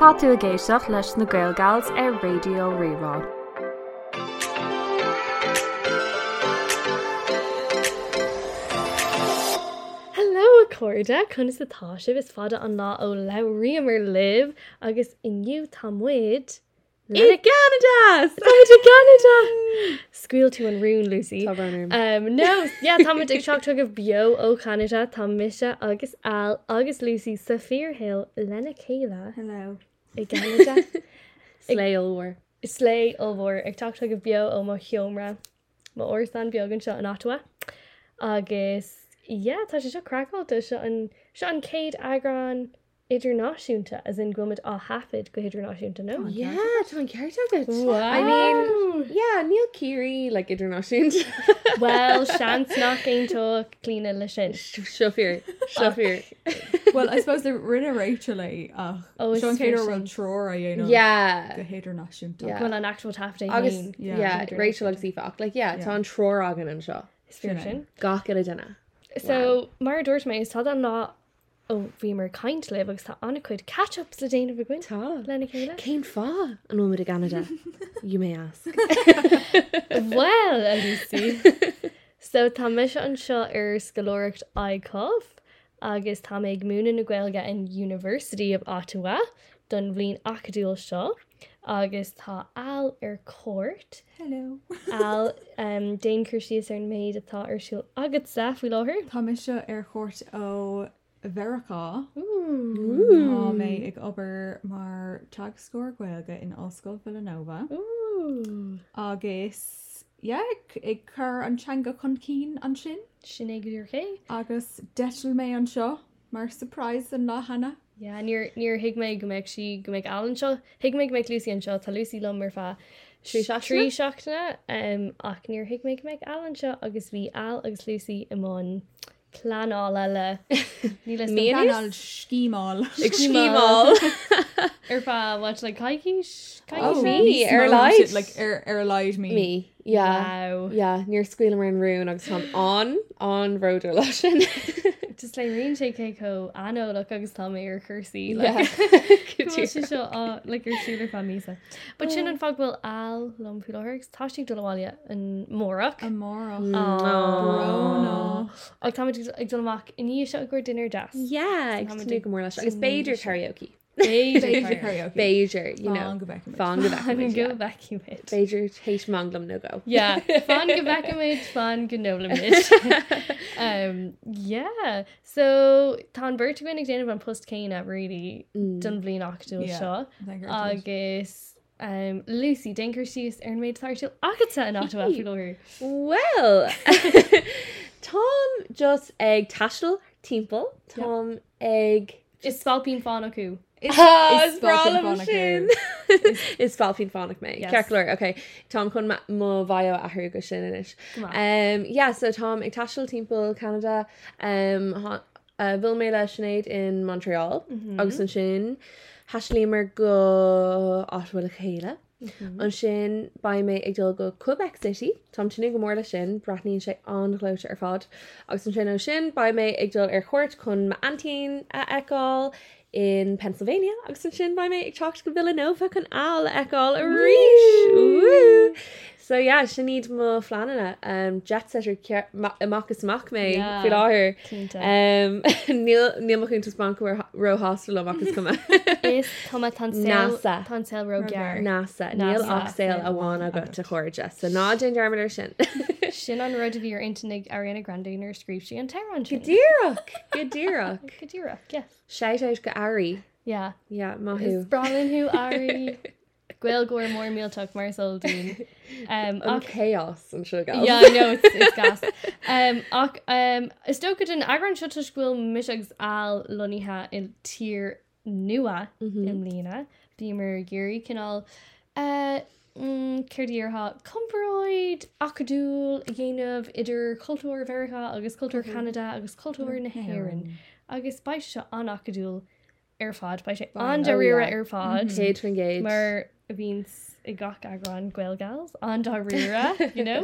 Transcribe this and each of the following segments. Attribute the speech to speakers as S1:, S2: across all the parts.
S1: Paú a géisioach leis na ggéilgails ar radio rirá.
S2: Hello acorda chunas atá sib is fada an ná ó leiríamar liv er agus inniu tamid I Canada to Canada Squeal tú an rún Lucy
S3: Tábhairnir.
S2: um, No yeah, tam ag seach tu go bio ó Canada tá mie agus al agus Lucy sa fear hill lena céile
S3: Hello.
S2: i Canada
S3: Sléolhar.
S2: slé óhór ag tata go bio ó má hiomra má orstan beaggan seo an Ottawa agus yeah, tá sé seo craáilta se an se an céad agran idirnáisiúnta as in gomit á hafid go idirnáisiúnta nó
S3: Oh, Yeah, tá an ceart agad. I
S2: Wow.
S3: mean, yeah, Neil Keery, like, international.
S2: Well sean nach éontó clína lei sin
S3: Shofir. Shofir.
S4: well, I suppose the Rina Rachel eh, ach,
S2: Oh, it's
S4: Sean Cater
S2: fishing.
S4: ran Trora, you know. The
S3: Yeah.
S4: hater nation.
S3: Yeah.
S2: bhfuil an actual tafta
S3: Agus,
S4: yeah,
S3: yeah,
S2: international.
S3: Rachel agus Ifach. Like, yeah, tá
S4: Yeah.
S3: an Tror agan an seo.
S4: Sure.
S2: sin.
S3: Gach gyda dyna.
S2: So mar dúirt mé is tá an ná ó bhí mar caiint le agus tá anna chuid catchup le déanamh goin
S3: Tá.
S2: lena chéile.
S3: Cain fa an omid a Canada. You may ask.
S2: Well a Lucy So tá me se an seo ar scalóiret aicoh agus tá méid múna na ghilga in University of Ottawa don bhlíon acadúil seo agus tá all ar cót
S4: Hello.
S2: all um, déoncursií ar an méid atá ar siúil agad sa bhí láthir
S4: Thomasha Airport O Verica.
S3: Ooh.
S4: Tá mé ag obair mar tag score gweilga in Oscail Villanova. Agus, yeah, ag- ag cur an Changa Concín an sin.
S2: sin égur ché?
S4: Agus detil mé an seo mar surprise an lá Hannah.
S2: Yeah, níor níor hiigmeid go meid si go méid Allan seo hiigmeid meid Lucy an seo tá Lucy lom mar fá
S3: Trí seachtaine?
S2: trí seachna um, ach níor hiigmeid meid Allan seo agus bhí all agus Lucy i món chláála le ní
S3: Mian?
S2: le
S4: Canal Schímal.
S3: Extreme. Er
S2: ar fá bhaid le caiiciis
S3: me,
S4: smelt
S3: ar leid.
S4: it, Oh, Like, ar ar leid me.
S3: Me. Yeah.
S2: Wow.
S3: Yeah, níor scuil mar an rún agus tá an an roidir lei sin.
S2: Tus le rion sé cé có anó le agus tá mé ar chusaí
S3: Yeah.
S2: Cúisi seo á legur siúla fá mísa. Ba sin
S3: Oh.
S2: an faghfuil all lomúlairs táistigh do leháile an mórach
S3: Mm.
S4: Amora.
S2: Brona.
S4: Brona.
S2: Ag tá ag donach iní seo gur dinner das.
S3: Yeah,
S2: Tá
S3: ag
S2: mé
S3: tú
S2: de-
S3: go mór leis agus Beiidir karaoke.
S4: Beidir
S2: Beiidir
S4: karaoke.
S3: Beiidir, you know.
S4: Fáin go bhfeiceann muid.
S3: Fan
S2: Fan go
S3: go
S2: vacuum it.
S3: Beiidir teis manglam nó go.
S2: Yeah, fan go vacuum it, fan go nolam it. Um, yeah, so tá bert go ag déanamh an post céin a really don bblion achú
S4: Mm. Yeah,
S2: seo
S4: thank God.
S2: agus um, Lucy dengur sios ar an méid tartil agata an Ottawa
S3: Hee.
S2: fiúir.
S3: Well Tom just ag tastal timppel Tom ag
S2: Is sápín fána acu
S4: Is
S5: Spalpin
S4: brala
S5: Fánacht
S4: sin Is falfin fánnach mé
S5: Yes.
S4: Ceir okay. Tom chun má bhaio athú go sin inis
S5: Go on.
S4: um, yeah, so Tom ag taiisiil timppla Canada um, ha- uh, bhil mé le sinnéad in Montreal
S5: Mhm.
S4: agus an sin heislíar go áhfuil a chéile
S5: Mhm.
S4: an sin ba mé ag dul go Quebec City Tom sinú go mórla sin bratníín sé anglóte ar fád agus an sin ó sin ba mé ag dul ar chót chun ma antín a eáil in Pennsylvania agus an sin ba mé ag techt go Villanova chun all eáil a ríis So yeah, sin níd má flaanana um, jet setter amach is uh, mac mé
S2: Yeah,
S4: fi láhir
S2: cínta.
S4: Uh, Um, níl chun is banc ro hostel amach is cuma
S2: Is Tá tan
S4: NASA.
S2: tan ro gear NASA.
S4: NASA níl oxsail a bháin go to chóirja so ná den dermidir sin
S2: sin an rud a bhí ar intanig Ariana Grandear scríb si an Tehran
S4: Godíach Godíach
S2: Cadíra yes
S4: Seitéis go airí
S2: yeah
S4: yeah
S2: Is
S4: mahu
S2: bralin who Ari Gil gore mór míltach Marcel Dean um
S4: an
S2: ach-
S4: chaos an sugar
S2: yeah no it's, it's gas um ach um is stoka den agran shutterhil mishags al loniha in tier nua
S4: Mhm.
S2: in Lena Beamer Gary canal uh Kirdirha Comroid Akadul Yenov Idir Cultur Verica agus Cultur Canada agus Cultur na Heron agus by se an Akadul Airfod by se an
S4: oh,
S2: Darira
S4: yeah.
S2: Airfod
S4: Jade Tringage
S2: Mar a bhís i gach agran gweilgals an dáúra, you know?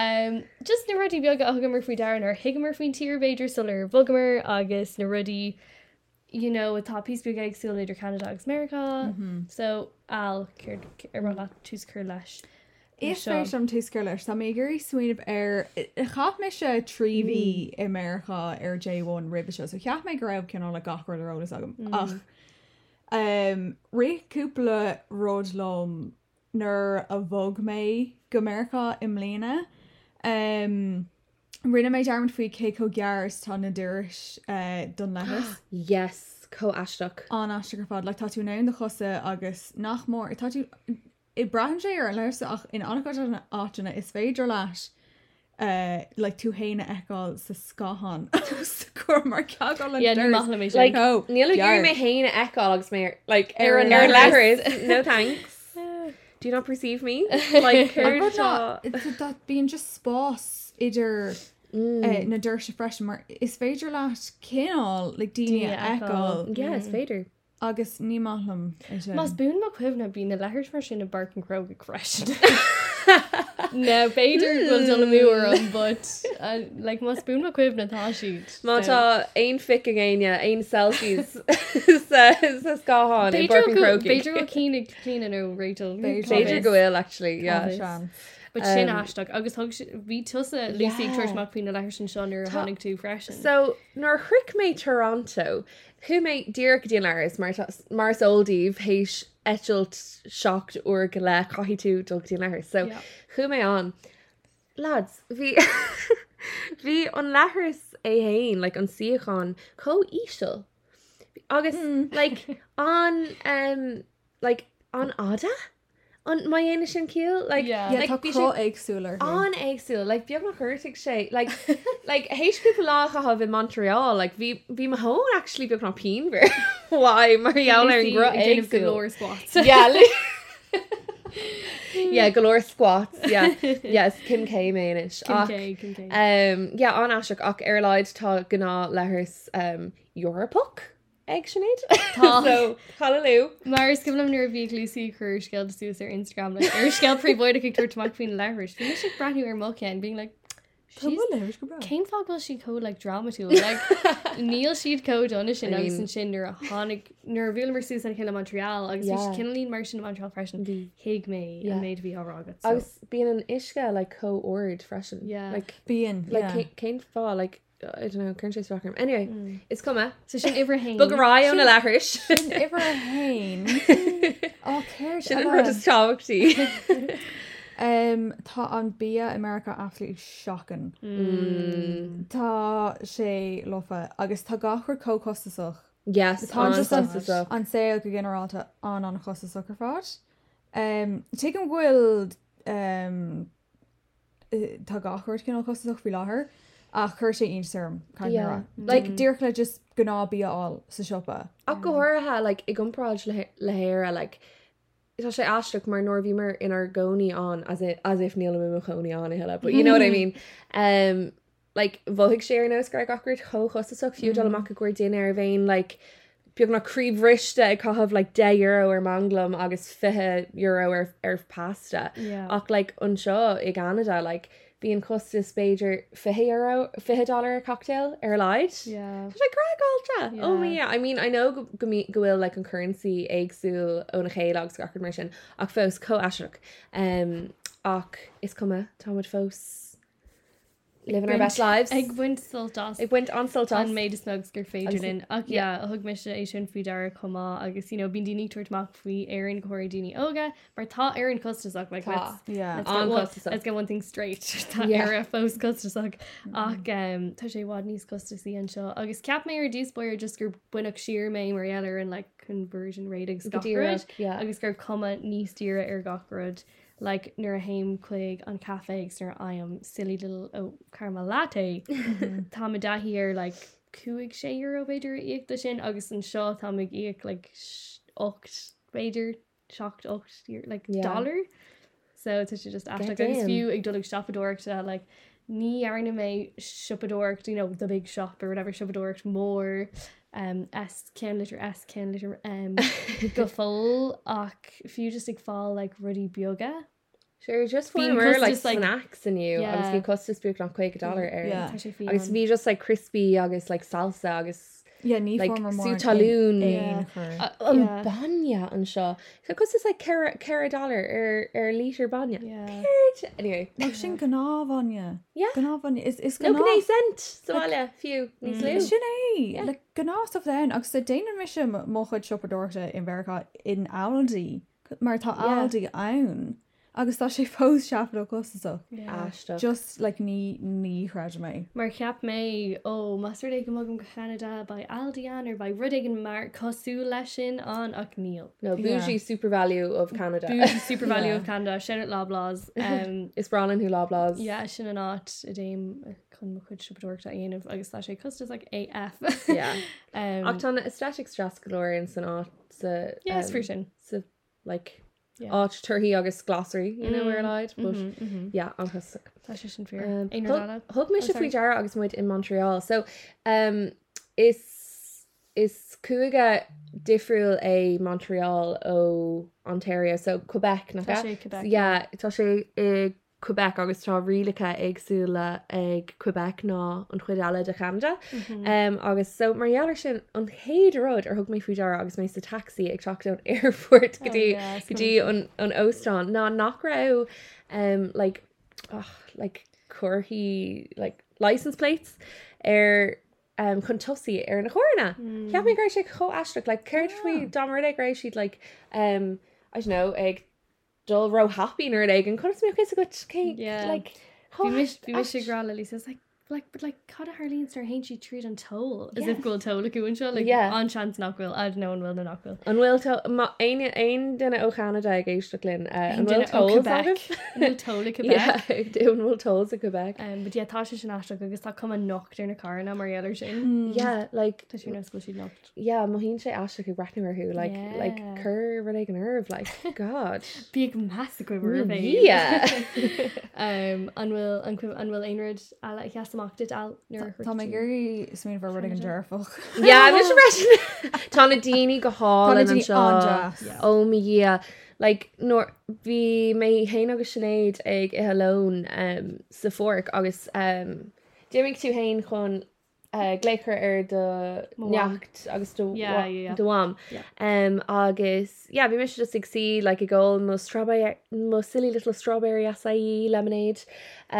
S2: Um, just na rudí beag agamar fao daran ar higamar faoin tír beidir sulir bugamar agus na rudí, you know, a tapís beag ag sú idir Canada agus America.
S5: Mhm.
S2: So al cur ar mar tús cur leis.
S5: Is
S2: Sure.
S5: fér sem túscar leis Tá mé gurí swinmh ar chaaf me se tríhí i America ar J1 rib seo, so ceaf mé go raibh cinál le gachar arólas agam ach. Réúpla ród lom nar a bhóg mé go America im léna. Um, Rinne méid dearmid faoi céco gearas tá na dúiris uh, don lehas.
S4: yes co ashtoch
S5: an asiste gur fad le tatú ná de chosa agus nach mór i tatú i brahan sé ar an leirsa ach in anána átainna is féidir leis eh, le tú héine eáil sa scahan chu mar ceá le
S2: Yeah, ní
S5: deireadh.
S2: maithla mé sin.
S4: like
S5: Oh,
S4: Neil
S5: yarr.
S4: Gary may hain ecologs mayor like
S5: Erin
S4: Aaron Aaron
S5: Letters.
S4: Letters. no thanks do you not perceive me
S5: I
S4: like
S5: got
S4: Kershaw.
S5: that- it's that being just spás idir
S2: Mm.
S5: eh, na dúir se freisin mar is féidir leis cinál le daine
S2: Daoine eáil.
S5: eáil
S4: yes Vader
S5: agus ní maithlam
S2: Mas bún má cuimhna bí na lehirir mar sin na bar an grog a crash. No,
S4: Hmm.
S2: Bader was on a moor on, but uh, like, my spoon my quiv Natasha.
S4: Mata ein fic again yeah ein selfies says says Gahan and
S2: Pedro
S4: Burping
S2: go-
S4: Croaky
S2: Pedro Keane clean and Rachel
S5: Pedro
S4: Vader
S5: Thomas.
S4: Goel actually yeah
S2: Thomas. but sin
S4: Um,
S2: ashtak agus hug ví tusa Lucy
S4: Yeah.
S2: Church McQueen and Irish and Sean are hannig too fresh
S4: so nor Hrick may Toronto who may Derek Dinaris Mars Oldiv Heish Etchelt shocked or Gale Kahitu Dog Dinaris so
S2: Yeah.
S4: who may on lads vi vi on lahris a hain like on siachan co ishal agus mm. like on um like on ada on my ain sin keel like
S2: Yeah.
S5: Ja
S2: Yeah,
S4: like,
S5: tá
S4: bhí
S5: có
S4: sé-
S5: agsúlar
S4: an éagsú like beag nach chuirtigh sé like like héis pe láchaá in Montreal like bhí bhí ma hón actually beag nach pin ver why Mariaal ar an gro éagsú yeah li- yeah galore squats yeah yes Kim K manish Ach,
S2: Kim
S4: um yeah on ashok och airlines tá gná lehers um Europok egg sinid so hallelujah
S2: Mars give them near bhí Lucy Church gail to suit their Instagram like er gail pre boy to kick her to McQueen leverage being like brand new or mulky and being like she's Kane fog will she code like drama tool like Neil she'd code on sin
S4: I
S2: agus
S4: mean-
S2: an sin nar a hánig nar bhil mar Susan Hill Montreal agus
S4: Yeah.
S2: yeah. cinlín mar sin Montreal freshen hiig mé
S4: Yeah.
S2: an méid bhí árágat
S4: I was being an ishka like co-ord freshen
S2: Yeah.
S4: like
S5: Bíon
S4: like yeah. Kane Fa like uh, I don't know Kern Chase Rocker anyway mm. it's comma
S2: so sin Ibrahim
S4: book Ryan on a laherish
S5: Iver a Oh, hain
S4: shouldn't wrote his talk to you
S5: Um, tá an bí America aflí shockan
S2: Mm.
S5: Tá sé lofa agus tá gachar cócostasach
S4: yes
S5: Tá
S4: on
S5: just
S4: Sunset Zone.
S5: an sé go generalta an an chosta sucker fát um, te an
S4: uh,
S5: bhfuil um, eh, tá gachar cin chostaach fi láthair
S4: ach chuir sé onsarm
S3: Yeah.
S4: like
S3: Mm.
S4: dearch le just gnábíáil sa siopa.
S3: Ach go háirithe le i gomráid lehéir a le Tá sé astruach mar nóir bhímar inar gcóí an as i- as if níl mu choí an i heile, but you know what I mean. Um, like bhóigh sé ar nós gur gacuirt chochasach fiú amach go daine ar bhéin like beag naríomh riiste ag chohabh like 10 euro ar manglam agus 5 euro ar ar pasta
S2: Yeah.
S3: ach like an seo i Canada like bíon costa spéidir 5 euro 5 dollar a cocktail ar leid.
S2: Yeah.
S3: Cos like Greg Ultra. Yeah. Oh my
S2: Yeah.
S3: yeah. I mean I know go go me- go will like an currency agsú on a chélogs gachar mar sin ach fós co asrach. Um ach is cuma táid fós living our best lives.
S2: Ag buint sultás.
S3: It went on sultás.
S2: an méid is nugs gur féidir
S3: Agus-
S2: in ach yeah, a thug me se é sin fao dear comá agus you know, bín daoine tuairtach faoi éann choir daoine óga mar tá éann costaach le
S3: Tá.
S4: Yeah.
S3: An costasach.
S2: let's get one thing straight Tá
S3: Yeah. Mm-hmm.
S2: ar a fós costaach ach um, tá sé bhád níos costaí an seo agus ceap mé ar dús buir just gur buineach siir mé mar ealar an like conversion ratings
S3: Díreach, yeah.
S2: agus gur cuma níos tíre ar gachrod like nuair a haim chuig an caféigs nar I am silly little oh, caramel latte tá a dahí ar like cuaig sé euro beidir íochtta sin agus an seo tá ag íoc like 8 beidir secht 8 like
S3: Yeah.
S2: yeah. dollar so tu sé just
S3: God
S2: after agus
S3: damn.
S2: fiú ag dul ag shopadorta like ní airna mé shopadort you know the big shop or whatever shopadort mór um s can litter s can litter um go full ach fiú just ag fá like ruddy bioga
S3: Sure just for
S2: Bíon
S3: more like
S2: costas, like-
S3: snacks in you
S2: Yeah.
S3: agus bhí costas buúach nach chuig dollar
S4: Yeah.
S3: ar
S2: Tá sé fiú
S3: agus
S2: an-
S3: bhí just like crispy agus like salsa agus
S4: Yeah, ní
S3: like
S4: formar mór
S3: sú
S4: in-
S3: talún
S4: in chur.
S3: A- an
S2: Yeah.
S3: banja an seo so cos is like cara cara dollar er, ar ar lítir banja
S2: Yeah.
S3: Peard. anyway
S4: Ach, sin gnáhhaine.
S3: Yeah.
S4: Gnáhhaine is is
S3: no
S4: gnáh-
S3: gné cent soáile fiú
S2: Mm.
S3: níos
S4: Is
S3: lú
S4: Sin é le gnáh den agus sa déanaan me sem mo chuid siopadorta in bhecha in Aldaí mar tá Aldaí ann agus tá sé fós seaafla costaach
S2: Ah,
S3: Aiste
S4: just le ní ní chreid mé.
S2: Mar ceap mé ó Masúé go mugam go Canada ba Aldian ar ba rudigan mar cosú lei sin an ach níl.
S3: no
S4: Yeah.
S3: bougie super value of Canada
S2: Supervalue yeah. of Canada sin at lablás. Um,
S3: is bralan who loblaws
S2: yeah, sin an áit a déim chun mo chud sipadúirta aanamh agus lei sé costas ag AF.
S3: yeah
S2: um,
S3: Octan aesthetic stras galore in san át sa
S2: yeah, it's
S3: um,
S2: free sin.
S3: sa like
S2: Yeah. Mm-hmm,
S3: át turhí agus glossary you know where leid but yeah anchas
S2: Tá sé sin
S3: Um,
S2: fear. Éar
S3: Thg me se fao dear agus muid in Montreal. So um, is is cuaige difriúil é Montreal ó Oh, Ontario, so Quebec nach
S2: Tá sé Quebec,
S3: yeah, Tá sé i Quebec agus tá rilacha agsúla ag Quebec ná an chuideala de Canada. Um, agus so marhealar sin an héadród ar thug mé fúidear agus mé sa taxi ag teach an airport gotí
S2: yeah, it's
S3: gotí an an Osán ná nach ra um, like oh, like cuairthaí like license plates ar um, chun tosaí ar na chóirna.
S2: Mm.
S3: Ceap mé gur sé cho astruach le chuir faoi domara éis siad like um, I don't know ag dul ro happy nuair ag an chus mé chu go cé
S2: Yeah.
S3: like
S2: Bhí mis bhí mis sé
S3: ast-
S2: grala lí like like but like cad a Harlín ar hain si tríd an toll is
S3: Yeah.
S2: if goil tola goún seo like
S3: Yeah.
S2: an chant nachhfuil a no an bhfuil na nachhfuil.
S3: An bhfuil to- má aon aon duine ó Canada ag éiste linn an bhfuil
S2: oh, Niltóla Quebec.
S3: tóún bhfuil tóls a Quebec.
S2: Um, but yeah, tá sé sin astra agus tá cum nocht ar na carna mar ealar sin.
S3: Yeah, like
S2: Tá siú nascoil si nocht.
S3: yeah, má hín sé as go breitnar thu like like
S2: Yeah.
S3: cur ru ag an nerv like god. Mm,
S2: Bíag massacre bhar
S3: Yeah.
S2: Um, an bhfuil an cuim an bhfuil aonrid a le cheasamach dit al nuair
S4: Tá mé gurí smín bhar rud an dearfach.
S3: Yeah, mis fre Tána daoine go hála an
S4: daoine an deas.
S3: seo ó mí like nóir bhí mé héana agus sinnéad ag i helón um, sa fórc agus um, déimiigh tú hain chun uh, gléchar ar do
S2: Mo bhain.
S3: neacht agus do
S2: Yeah, yeah, yeah.
S3: doam um, agus yeah, bhí mis just ag si le i ggóil mo strawberry mo silly little strawberry asaí lemonade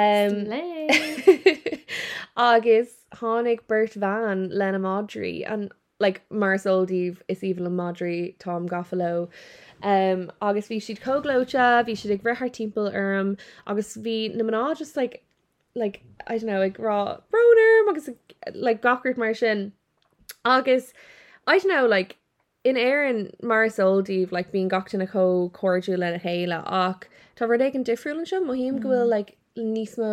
S3: um,
S2: le
S3: agus hánig Bert van lena Madri an like Marsoldíh is even le Madri Tom Goffalo. Um, agus bhí siad coglocha, bhí siad ag brethar timppla orm, agus bhí na maná just like like I don't know ag rá broner agus ag- like gachart mar sin agus I don't know like in Aaron Marsoldíh like bíon gachtain na có cordú le na héile ach tá rud ag an difriúlan seo mohíim gohfuil like níos mó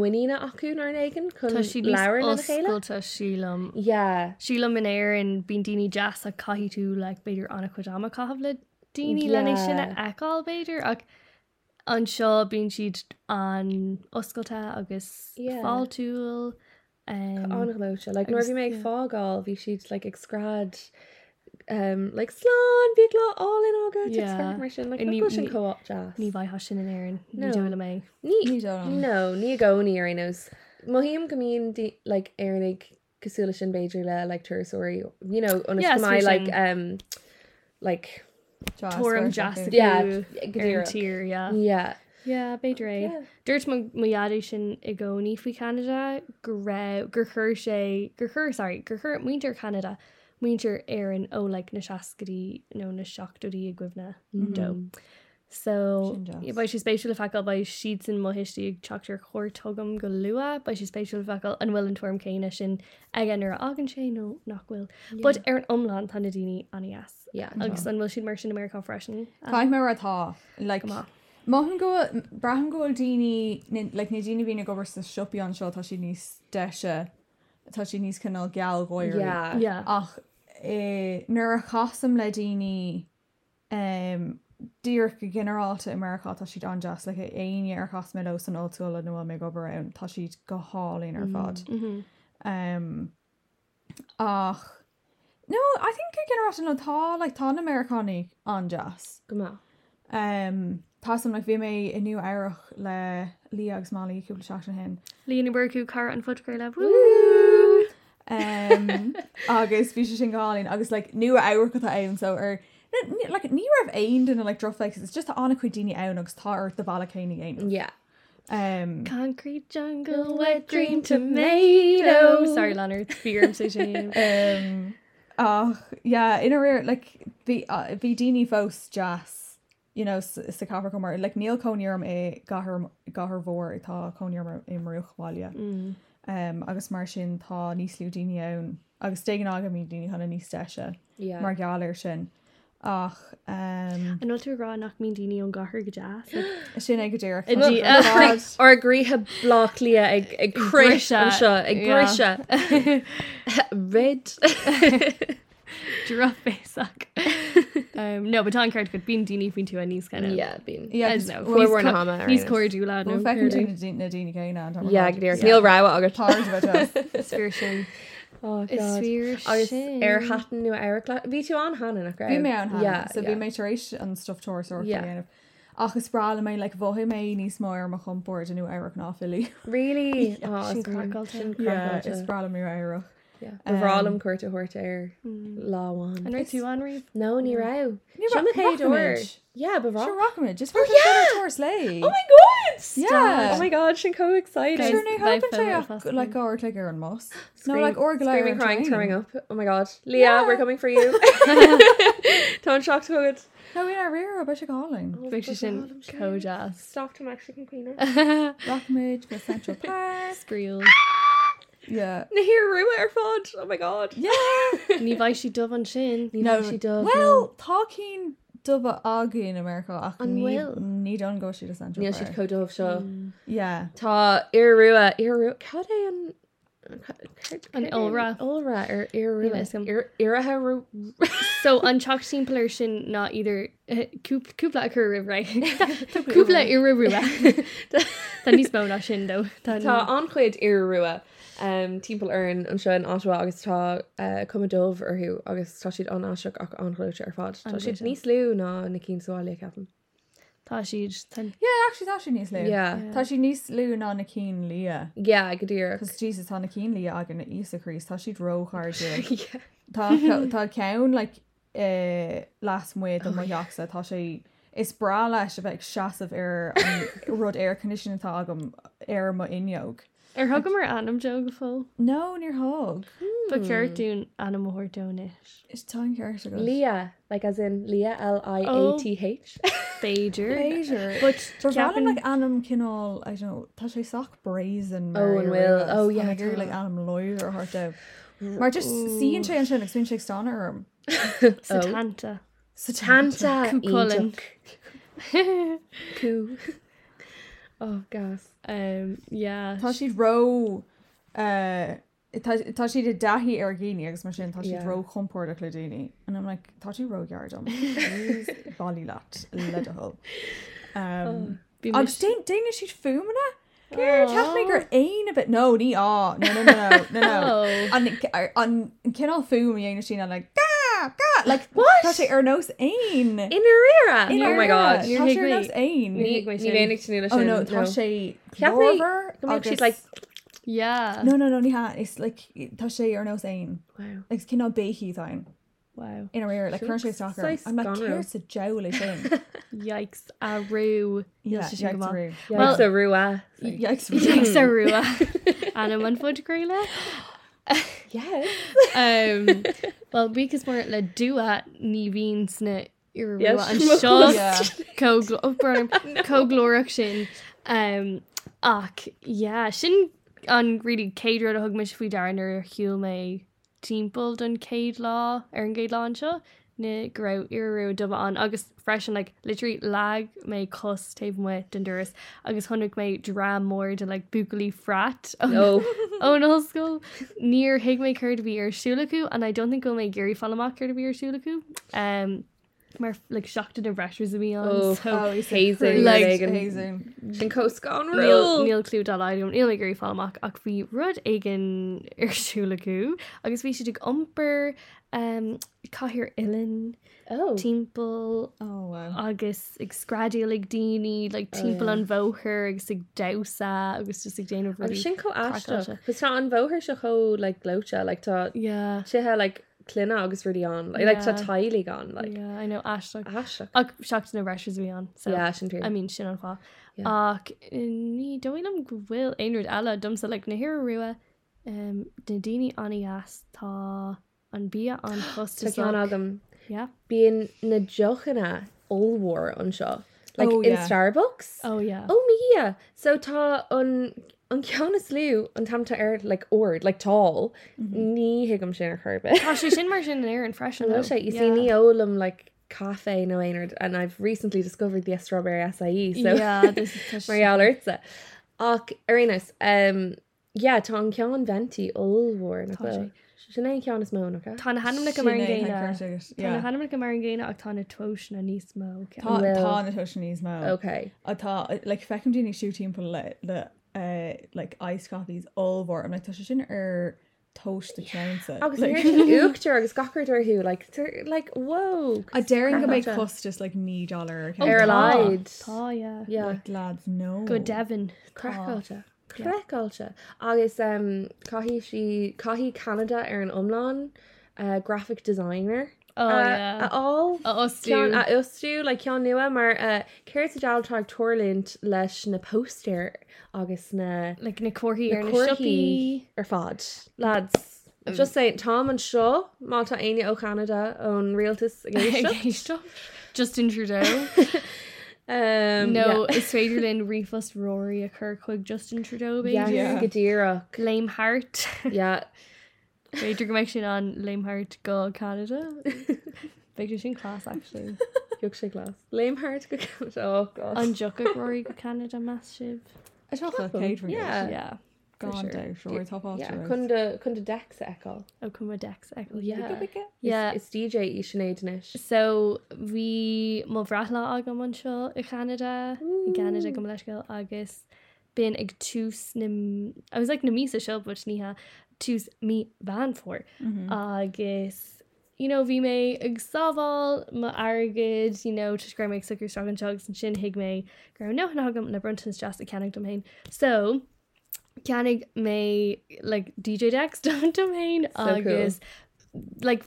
S3: muína acuún ar éigen chun
S2: Tá si
S3: leabhar na chéile?
S2: chéileta sílam.
S3: Yeah.
S2: Sílam in éir an bíon daoine deas a caiú le beidir anna chuidama caihab le daoine lena sinna eáil beidir ach an seo bíon siad an oscailte agus
S3: Yeah.
S2: fáilúil an
S3: anlóte like nuir
S2: agus-
S3: bhí méid
S2: um, yeah.
S3: fágáil bhí siad like ag scrad um, like slán bhí lá all in
S2: Yeah.
S3: ága mar sin like,
S2: And
S3: ní,
S2: ní-
S3: sin
S2: ní-
S3: co-op jazz
S2: ní bhaith sin in éan
S3: No.
S2: ní do le mé.
S3: ní
S4: Ní dom.
S3: no ní gcóí ar nos Mohíim gomíon like airnig cosúla sin Beiidir le like tuaúirí you know on
S2: Yeah,
S3: mai
S2: sure
S3: like
S2: sin.
S3: um like
S4: Jazz
S2: Tuam
S4: version,
S2: jazz
S4: yeah.
S3: Yeah,
S2: ar
S3: gníomhach.
S2: tír, yeah.
S3: yeah
S2: Yeah, beidir
S3: Yeah.
S2: é. Dúirt muadú sin i gcóí fao Canada go raibh gur chur sé gur chur sorry, gur chur muinter Canada muinter éan ó le na seacadí nó na seachúí a gcuibna
S3: Mm-hmm.
S2: do. So
S4: Sin jazz.
S2: i b si spéisiú feáil ba siad san mohiistí ag teachtar chóirtógam go lua, ba si spéisiú feáil an bhfuil an tuam céine sin ag an ar agan sé nó nachhfuil. Bud ar an omláán tanna daoine anías.
S3: Yeah.
S2: agus an bhfuil sin mar sin America freisin.
S4: Caiith mar atá le
S2: Go maith.
S4: Mohan go brahan goil daoine nin- like, na daoine bhína gobar sa siúpi an seo tá si níos deise tá si níos canál geal goir
S3: yeah
S2: Yeah.
S4: ach eh, nuair a chasam le daoine um, dír go generalta Americá tá siad an jazz le aine ar chasme ó san óúil nu mé gobar ann tá siad go hálín ar fad um, ach no I think go generalta nótá le tá an Americanig an jazz
S3: go
S4: um, Tásam le bhí mé inniu airech le líags málaí cúpla seach na hen
S2: Líana burú car an fudgrail le bú.
S4: um, agus bhí sé sin gáin agus like, nu áhachata ann so ar n- n- like, ní rah aon duna le droflex is just anna chu daine ann agus tá ar do bhla chéine aon
S3: yeah
S4: Um,
S2: Concrete jungle, wet green tomato. Sorry, Leonard. Beer station.
S4: um, ach yeah, in a rare like the uh, the Dini Vos jazz you know s- is the cover comer like Neil eh, Conium a gahar gahar vor tá Conium in Maruchwalia mm. eh, um agus mar sin tá níos lú Dini own agus stegan aga mi Dini hanna níos deisha
S3: Yeah.
S4: mar galir sin ach um
S2: An tú rá nach mín daine an gahar go deas.
S4: sin ag go
S2: Well,
S4: dé
S2: Dí- a
S3: Like, ar gríthe blach lia ag ag cruise
S2: brise,
S3: an seo ag
S2: yeah.
S3: brise red
S2: Drop faceach. Um, no, but tá ceart go bíon daine fin tú a níos cena.
S3: yeah bín
S4: Yeah,
S2: I
S4: just-
S2: don't know.
S3: Well,
S2: Níos
S3: we're
S2: co-
S3: not hama,
S2: Níos
S3: right?
S2: cóirú lá nó
S4: fecin tú na Dini gaine
S3: yeah gníor níl ra agus
S4: tá
S2: Sphere sin.
S4: Oh
S2: Is
S3: agus
S2: sphere sin.
S3: ar hatan nu er air ví tú an er hanna nach raibh?
S4: Bhí mé er an
S3: Yeah,
S4: hana, so
S3: yeah.
S4: bhí mé tar éis an stufftóir
S3: Yeah.
S4: sort Achas sprála mé le bhthe mé níos mór mar chumpóir denú airach náfilí.
S3: really
S2: sin crackle sin.
S4: Is sprála mí airach. Um,
S3: bhrálam cuairta thuirta ar
S4: Hmm.
S3: láháin
S2: An roi tú an riomh?
S3: nó ní ra
S4: ra-
S3: chéúir
S4: Rochamage.
S3: yeah
S4: Sure
S3: bhrá
S4: rockid, just
S3: yeah!
S4: fuirtóir lei.
S3: oh my god
S4: Yeah.
S3: oh my god sin co
S2: Guys,
S3: excited
S4: Sure na
S2: my
S4: helpan
S2: phone
S4: sé
S2: is
S4: ach
S2: busting.
S4: le gáir le ar an mós. No like or
S3: Screaming, crying, tearing
S4: No
S3: up. Oh my god. Leah, yeah. we're coming for you. Don't shock Oh. so good.
S4: in our rear a bit of calling.
S2: Bhí sin có deas.
S3: Stop to Mexican Queen.
S4: Rockmid go Central Park.
S2: Scríil.
S4: Yeah.
S3: Nahir Rua Air Fudge. Oh my god.
S4: Yeah.
S2: Ní bhaid si dubh an sin.
S3: No, she does.
S4: Well, talking dubba aga in America ach
S3: An
S4: ní
S3: bhfuil.
S4: ní don go si to Central
S3: Níl siad
S4: Park.
S3: codómh seo.
S4: Yeah.
S3: Tá ar rua ar rua cadé an
S2: An Ulra.
S3: Ulra ar ar
S2: Yeah,
S3: rua
S2: it's him.
S3: ar irathe ru
S2: So an teach simpler sin ná idir cúpla chu rih ra cúpla i ruúla Tá níos bó lei sin dó
S3: Tá anchuid ar rua um, timp an an seo in Ottawa agus tá uh, cumadómh arthú agus tá siad an áiseach ach anhlaúte ar fád. Tá siad
S2: Anghluite.
S3: níos lú ná na cín sáile capan.
S2: Tá siad tan
S4: Yeah, actually tá si níos le.
S3: Yeah.
S4: Tá si níos lú ná na cín lia.
S3: Yeah, goodír.
S4: Cos Jesus tá na cín lia agan na Isarís tá siad róáir Tá Tá cen le las
S3: Oh
S4: muid do maiachsa tá sé is bra leis a bheith seaamh ar an rud air condition atá agam ar má inneog.
S2: Ar thugam mar anm de go fó
S4: No níor hog.
S2: Ba ceirún anm mthirúnis
S4: Is tá an ceir go.
S3: Leah, like as in Leah, L I A T H.
S2: Beiidir
S4: Léisir.
S2: But
S4: For
S2: ceapan-
S4: bhhaim le anam cinál I don't know, tá sé soach brazen
S3: Oh, and will. Oh, yeah,
S4: gur
S3: tá.
S4: le anam loir ar hartta. Mar just síon sé an sin ag swin sé stan arm.
S2: sa tananta
S3: Tanta
S2: Cú Colin.
S3: Cú. Oh, gas.
S2: Um, yeah.
S4: Tá siad ro uh, tá tá siad i dahí ar ggéine agus mar sin tá siad
S3: Yeah.
S4: ro chumpóir a chludaine an am le tá siad rogear am bailí leat le
S3: Oh,
S4: hul.
S2: Bhí mu-
S4: Agus Um, dé- déine siad fumana? Ceir mé gur aon a bit nó ní á no no no no, no.
S2: Oh.
S4: an ar- an cinál fum dhéana sin le ga ga le what tá sé ar nós aon
S3: In Arera.
S4: In
S3: Oh my
S4: Aira.
S3: god.
S4: Tá sé ar nós aon
S3: Ní
S2: Ní-
S3: ní bhénig tú níla
S4: oh
S3: sin,
S4: no tá sé
S3: Ceacht mé-
S4: clover
S3: Come on, she's
S4: agus-
S3: like,
S2: Yeah.
S4: No, no, no, ní ha. It's like, tá sé ar nós aon.
S3: wow.
S4: Like, it's cynna béhí thain.
S2: Wow.
S4: In a rear, like, current
S3: Shucks,
S4: soccer.
S3: so
S4: I'm like,
S3: scanner.
S4: here's a jowl sin.
S2: Yikes. A roo.
S4: Yeah,
S2: Yes, she's
S4: yikes
S2: a
S4: roo.
S3: Well,
S2: Well-
S3: it's a Rua.
S4: Yikes
S2: Yikes a roo. Anna man fud grele.
S3: Yes.
S2: Um, well, because we're le dua ni veen sna irua
S3: Yes,
S2: and
S3: most.
S2: shot co co glorach sin. Um, ach, yeah, sin an really caidra a hug mish fwy darin ar hiúl me timpel dun caid law ar an gaid law an seo. Na grau iru dubba an agus fresh and like literally lag me cos tave me dunduras agus hunnig me dra more to like bucally frat
S3: No.
S2: Oh no, school near Higme Cur to be your Shulaku, and I don't think Gome Gary Falamak Cur to be your Shulaku. Um, more like shocked and impressed with me on.
S3: Oh,
S2: so,
S3: hazing.
S2: Like-
S4: Hazing.
S3: Sin Coast Gone
S2: Neil
S3: Rule.
S2: Neil Clue dot I don't Neil Gary Falamak ach fi rud egan ir Shulaku. Agus fi should umper um cahir ilin
S3: Oh.
S2: timpel
S4: Oh, wow.
S2: agus ag sgradio ag dini like
S3: Oh,
S2: timpel an voher agus ag dausa agus just ag dana
S3: Agus sin có
S2: Crackle.
S3: aiste chus tá an bhóthir se cho le glóte le tá
S2: yeah
S3: sithe le cluna agus rudí an le le tá
S2: Yeah.
S3: tailí gan le
S2: yeah I know Ashton
S3: aiste
S2: Ag seach na breis bhí an so
S3: Yeah, sin
S2: I
S3: fear.
S2: mean sin an fá
S3: Yeah.
S2: ach uh, ní doham bhfuil aonúd eile dumsa le nahir ruúa um, na daine aní as tá an bí an
S3: Tá cean
S2: chustas
S3: agam
S2: yeah
S3: bíon na jochanna óhór an seo le
S4: Oh,
S3: in
S4: yeah.
S3: Starbucks
S2: oh yeah
S3: ó mí so tá an an ceanna slú an tamta air le Er, ord le tá ní higamm sin a churbe
S2: Tá sé Mm-hmm. sin mar sin air an freisin
S3: No, sé, you see ní ólam like cafe no einard and I've recently discovered the strawberry acai so
S2: Yeah, this is such-
S3: Marialerza. Ach Arenas, um yeah, tá an cean venti olhór na
S2: Tá sé.
S3: go. Sin é cean is mó okay?
S2: Tá na hanam na go mar an ggéine Tá na
S4: Tá
S2: hanam na go mar an ggéine ach tá na tuis na níos mó
S4: tá
S3: Well.
S4: na tuisníos má.
S3: Okay.
S4: Atá le fecin dúnig siútíim po le le uh, like ice coffees all bhór am le tá sé sin ar toast a cheansa.
S3: Agus like, uachtar agus gachartar who like they're, like whoa.
S4: A daring go
S3: Crack
S4: make
S3: gotcha.
S4: cost just like ní dollar.
S2: Oh,
S3: Ar
S2: tá,
S3: laid.
S2: Tá yeah
S3: Yeah.
S4: Like lads no.
S2: go Devon
S3: Crackáilte. Crackáilte. Agus um caihí si caihí Canada ar an omláin uh, graphic designer.
S2: Oh,
S3: uh,
S2: yeah.
S3: At all.
S2: A osú.
S3: Ceann- A osú le cean nua mar uh, ceir a daltá tolint leis na poster agus na
S2: le na cuairthaí
S3: na
S2: ar na
S3: cuairthaí
S2: sipi
S3: ar fad. Lads.
S4: Um,
S3: Just saying, Tom and Shaw, Malta Aine o Canada on Realtus against
S2: Geisio. Justin Trudeau.
S3: Um
S2: No, is féidir linn rifas roií a chur chuig Justin Trudeau bé.
S3: Yeah, yeah.
S4: Yeah.
S3: Gadira.
S2: Léimhart
S3: Yeah.
S2: féidir go meid sin an Léimhart go Canada. Féidir sin clás actually.
S3: Yug sé glas. Lamehart go Canada. Oh, God.
S2: An joca roií go Canada massive.
S4: Is wel goed, catering.
S3: Yeah.
S2: Yeah.
S4: Gone down, sure. Top off.
S3: Yeah, Kunda Kunda Dex Echo.
S2: Oh cum a dex ag
S3: Oh, yeah.
S2: Yeah.
S3: It's DJ Ishanaid Nish.
S2: So bhí má bhrethla agam an seo i Canada i Canada go leiscail agus bin ag tús na I was like na mí a seo but níthe tús mí van for agus you know bhí mé ag sábháil má agad you know tuisgra méid sucr stra an tugs an sin hiig mé gur nó agam na bruntas just a cenig domhain so cenig mé like DJ Dex domhain
S3: cool.
S2: agus like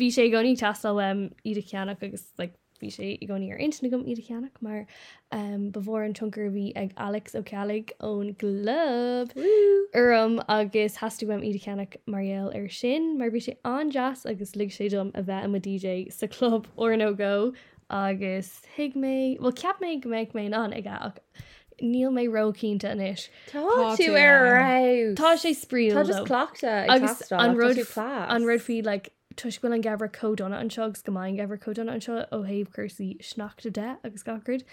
S2: bhí sé gcóí tastal um, iad a ceannach agus like, bhí sé i gcóí ar intna gom iad a ceannach mar um, bhór an tungur bhí ag Alex ó Calig ón glub Urm agus hasú am iad a ceannach marhéal ar sin, mar bhí sé an jazz agus lig sé dom a bheith am a DJ sa club or nó go agus hiig mé bhil ceap mé go méid mé an ag ach níl mé rocínta inis.
S3: Tá tú
S4: tú
S3: ar
S4: ar
S3: ra.
S2: Tá sé spríal
S3: Tá
S2: though
S3: just clockta
S2: agus an road an road fi like tuisfuil an gabhar códonna an segus gomáin gabhar códonna an seo ó haobhcursaí sneachta de agus gacrid.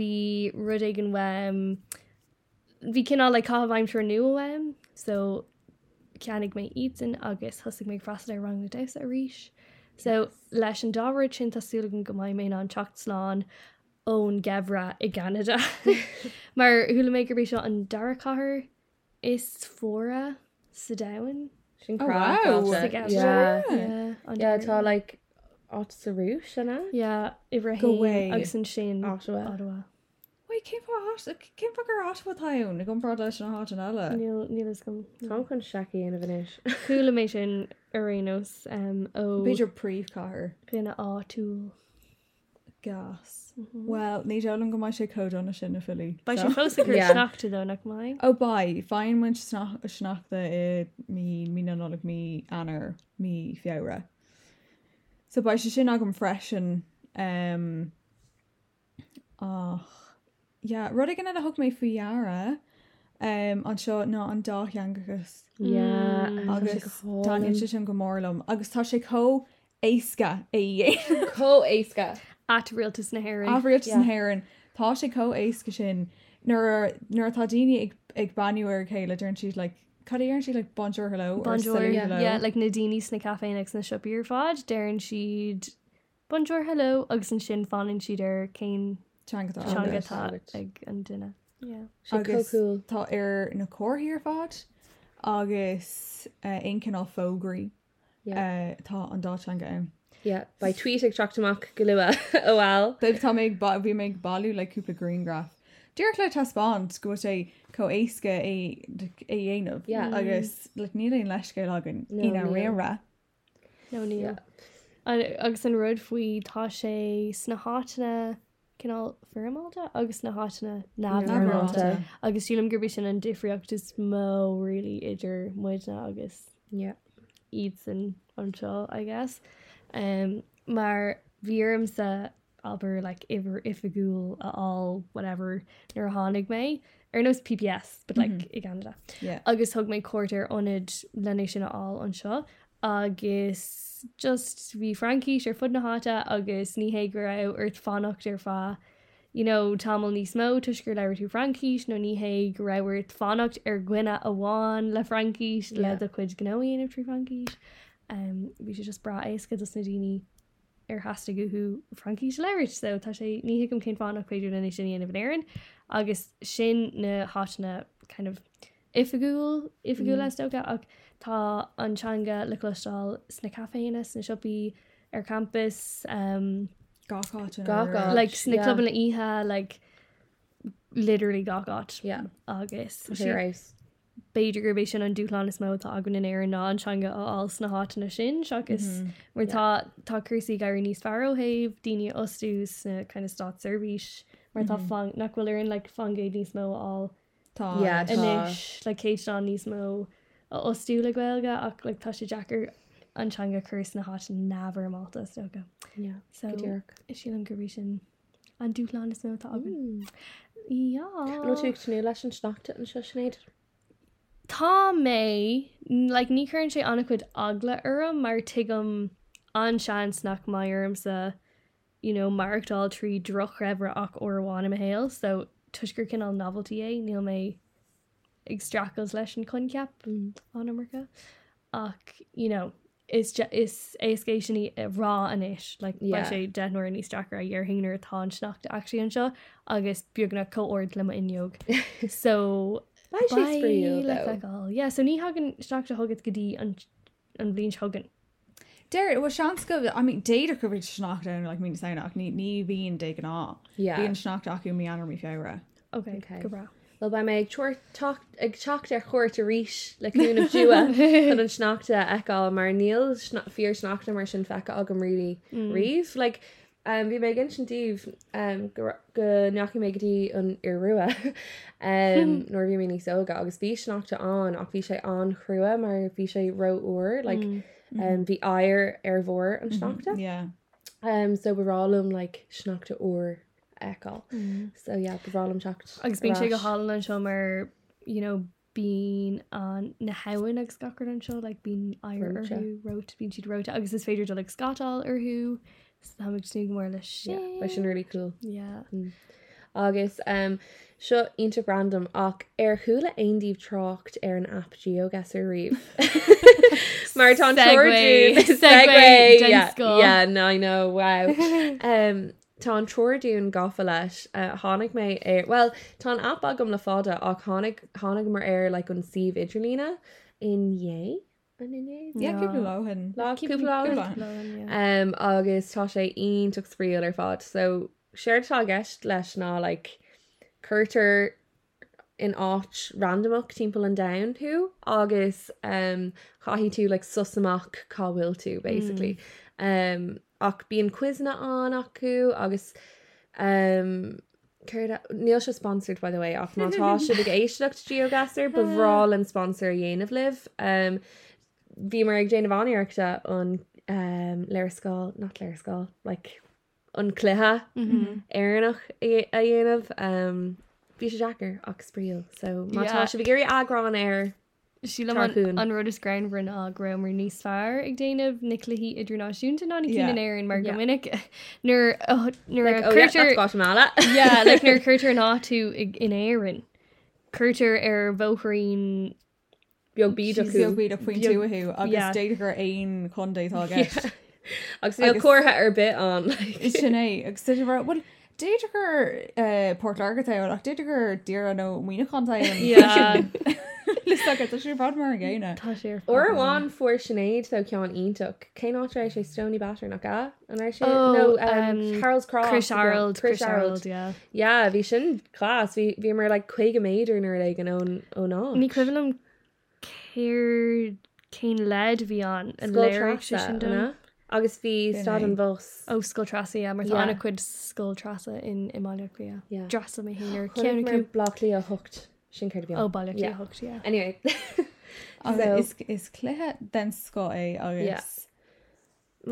S2: Bhí rud um, ag an weim bhí cinná le cáhhaim se nu weim, um, so ceannig mé itan agus thosigh mé frastal ar rang na deis a ríis. So leis an dáhar sin tásúlagan gomáid mé an techt sláán ón gabhra i Canada. Mar thula méid gurbí seo an daracáthair is fóra sa dain.
S3: Sin
S2: Oh,
S3: crá
S2: wow.
S3: fáilte.
S2: Sa gabhra.
S3: Yeah.
S2: Yeah, an
S3: Yeah,
S2: Dara.
S3: tá like áit sa rú sinna?
S2: Yeah, i ra
S3: Go away.
S2: agus an sin
S3: Ottawa.
S2: Ottawa.
S4: Wait, cé cé fa gur áit táún i go brad leis an háin eile.
S2: Níl níl is gom.
S3: Tá chun seaí ana bhanéis.
S2: Coolla mé sin arénos ó
S4: Beiidir príomh cáair
S2: gluine áú.
S4: gas.
S3: Mm-hmm.
S4: Well, ní an go mai sé códonna sin na fillí.
S2: Ba sin fósagur
S3: Yeah.
S2: snachta dó nach mai.
S4: Ó ba, fáin mu snachta i mí mí nóla mí anar mí fiabhra. So ba sé sin agam freisin um, ach yeah, rud gan a thug mé faoheara um, an seo ná an dá angagus
S2: Mm.
S4: agus tá
S3: agus
S4: si sin go mórlam agus tá sé có éca é dhé
S3: có éca.
S2: At rialtas na hair.
S4: áhríocht an haan tá sé có éca sin nuair nuair tá daine ag ag banúir chéile dúann siad le cadíar si le bonjour hello or
S2: Bonjour.
S4: silly
S2: Yeah,
S4: hello.
S2: yeah, like Nadine sna cafe next na shop your fod, Darren she'd Bonjour hello, agus an sin fan and she'd er Kane
S4: Teangatá
S2: Shanga
S4: agus.
S2: thought ag an dinner. Yeah.
S3: Sin
S4: agus
S3: cool.
S4: tá ar er, na cóthíar fad agus uh, incinál fógraí
S3: Yeah,
S4: uh, tá an dá an gaim.
S3: yeah. Ba tweet ag trachtach go lua óháil.
S4: Bib tá méid ba- bhí méid balú le cúpla Greengraf. Dúir le taspáint go é có éca é é dhéanamh Mm.
S3: Yeah.
S4: agus le níon leiscé agan
S3: No,
S4: ina
S3: níl.
S4: réra.
S2: No ní.
S3: Yeah.
S2: An- agus an rud faoi tá sé sna hána cinál fermalta agus na hána
S3: Nábhfhreamálta.
S2: námalta agus sílam gurbí sin an difriochttas mó rilí idir muidna agus
S3: Yeah.
S2: iad san anseo I guess um, mar bhíarm sa aber like iver if a ghoul at all whatever nar hánig mé ar nos PPS but like mm -hmm. i Canada
S4: Yeah.
S2: agus thug mé cuairtar onid lena sin á an seo agus just bhí Frankí ar fud na háta agus níhé go rah ar fannacht ar fá. You know, tamil níos mó tuisgur leir tú Frankis nó níhé go rahir fannacht ar gwine a bháin Er le Frankis le
S3: Yeah.
S2: a chuid gnáíon ar trí Frankis. Um, Bhí sé just bra éca na daoine ar hasasta goú Frankis leirt so tá sé ní gom cén fána chuidir lena sin anamh airan agus sin na hána kind of ifagúil ifagú le stoga ach tá antseanga le chlostal sna caféine sna sipi ar campus um,
S4: Gaá
S3: Gacha.
S2: like
S3: yeah.
S2: sna yeah. club na ihe like literally gagat
S3: Yeah.
S2: agus
S3: Sé éis.
S2: beidirgurbé sin an dúláán is mótá agan in éar ná antseanga áil sna hána sin segus
S3: Mm-hmm.
S2: mar tá tácursaí gaiir níos fearó haimh daine osú sna chuna stá servís mar tá
S3: Mm-hmm.
S2: fang- nachhfuil ar an le fangé níos mó áil
S4: Tá
S3: Ah, Yeah, tá.
S2: inis le céit an níos mó a osú le ghilga ach le tá sé Jackar antseanga chus na há nabhar máta stoga.
S3: Yeah.
S2: So
S3: Gdearg.
S2: is sí an goéis sin an dúláán is nóta agan. Iá
S3: nó tú tú leis an snachta an se snéad
S2: Tá mé le ní chuann sé anna chud agla orm mar tuigem ansean snach maim sa you know, marachtáil trí droch raibhre ach ó bháinna a héil, so tuisgur cin an novelty é níl mé agstrachas leis an conceap an America ach you know, is ju- is écéisiní rá anis le
S3: Yeah.
S2: sé denir ní strachar a dhear hinar tá snacht eaí an seo agus beagna cóord lema inneog so
S3: Bye, she's for you,
S2: like,
S3: though.
S2: like all. Yeah, so ní hagan straach a hogad godí an an blin hagan.
S4: Deir bh sean go bh- I mean déidir go bhíid snachtain le mí saoach ní ní bhíon de an á.
S3: Yeah.
S4: Bhíon snacht acu mí anar mí fiire.
S2: Okay,
S3: Okay.
S2: okay. go bra.
S3: Well ba mé ag tuair tacht- ag techt ar chuir a ríis leún of dua an an snachta eáil mar níl fíor snachta mar sin fecha agam rií riomh le bhí mé gin sintíh go neachí mé gotí an i ruúa nóir bhí mé níos óga agus bhí snachta an ach bhí sé an chrua mar bhí sé roúir le bhí um, air ar bhór an snachta
S4: Yeah.
S3: Um, so barálum like snachta or ekkal. Mm. So yeah, barálum chacht.
S2: Agus bín sé go hall an seo mar you know, uh, bín an na hain ag scacar an seo le bín
S3: Roite.
S2: airú rot bín siad rota agus is féidir do le scatáil arthú sa haig snig mór le sin
S3: lei sin really cool.
S2: yeah.
S3: agus um, seo inta brandom ach ar thuúla aondíh trocht ar er an app geogas ar riomh. Mar tá
S2: Segue. Segue, den scoil.
S3: yeah, no, no, wow. um, tá an troirún gafa leis uh, tháinig mé ar well tá an app agam le fáda ach tháinig tháinig mar ar le an sih idirlína inhé an inné
S4: Yeah, keep lohan.
S3: láúpla
S2: Lohan, yeah.
S3: um, agus tá sé on tu spríal ar fád so séirtá gceist leis ná like curtar in áit randomach timppla an down tú agus um, chaihí tú le like, susamach cáhfuil tú basically
S4: Hmm.
S3: mm. um, ach bíon cuisna an acu agus um, Ceirde- Níl se sponsored by the way ach mátá si éisilecht geogasar bhrá an sponsor dhéanamh liv um, bhí mar ag déanamh aníireachta an um, leirscáil nach leirscáil like, an cluthe éannach a a dhéanamh um, bhí sé Jackar ach spríal so
S2: Yeah.
S3: mátá se bh géirí agrán air
S2: Sí le
S3: Tarcún.
S2: an rud is grein rin á gromer níos fear ag déanamh niclahí idirnáisiúnta ná
S4: Yeah.
S2: cían éir an mar
S3: Yeah. oh,
S2: gomininic nuair nuair
S3: Guatemala
S2: oh, yeah, like nar chuirtar ná tú ag in Er, éan. Curtar ar bhóchairín
S3: beag bí
S4: She's the weed of point
S2: Yeah.
S4: two who
S2: Yeah.
S4: agus dated her ain conde target.
S3: agus níl
S4: agus-
S3: cuatha ar bit an
S4: It's Sinead agus dated her well dated her Port Argatha ach dated her dear no mina conte. Listen, I guess she's proud more again.
S2: tá sé
S3: Or bháin fuair sinnéad tho ceán ionach cé ná éis sé Stony Batter nach ga an sé
S2: Oh,
S3: no
S2: um,
S3: um, Charles Cross
S2: Chris Harold Chris
S3: Harold
S2: Harold yeah.
S3: Ja bhí sin chlás bhí mar le chuig go méidir nuair ag an ón ó
S2: Ní
S3: ná
S2: cuilumm céir céin lead bhí an an léir sin donna.
S3: agus bhí
S4: Bhí
S3: stad an
S4: an
S3: bós
S2: ó sscoil trasa a mar
S3: Yeah.
S2: anna chuid sscoil trasa in imália
S3: Yeah.
S2: Drasa mé héir
S3: Chnig mar
S2: ceanú
S3: blachlíí a thucht sin chuir
S2: ó bailach
S3: Yeah.
S2: thucht
S3: Anyway So-
S4: Agus is is cléthe den sco é agus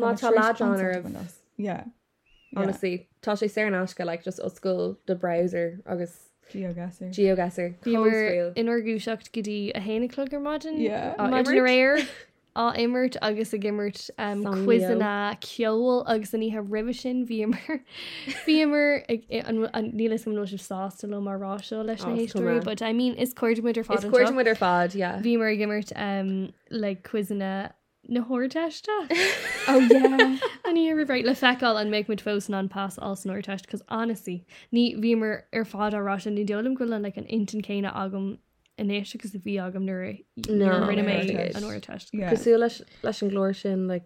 S3: má tá ládán ar a
S4: bh yeah
S3: honestly tá sé sé an asca le just oscail do browser agus
S4: geogasar
S3: geogasar
S2: Bíar inargú secht gotí a héananaluggur maidin
S4: Yeah. Á
S2: maidin
S3: imirt.
S2: réir á imirt agus a gimmert um,
S3: San
S2: cuisanna ceol agus an ithe rihi sin bhíar bhíar nílas go nóisih sástaló marrá seo leis
S3: Oh,
S2: na
S3: it's
S2: héistóí,
S3: cumrah.
S2: but I mean is cuairmuidir fá
S3: It's cuairte mu ar fád yeah.
S2: Bhí mar gimmert um, le cuisanna na háirteiste.
S4: oh yeah
S2: An i rihreid le feáil an méid mud fós ná pass all snoir test cos anasí ní bhímar ar fád ará an ní deolm goile le an intan céine agam inéis agus a bhí agam nuair
S3: No,
S2: rinne
S3: yeah.
S2: mé an orir test.
S4: yeah
S3: Cosú leis leis an glóir sin le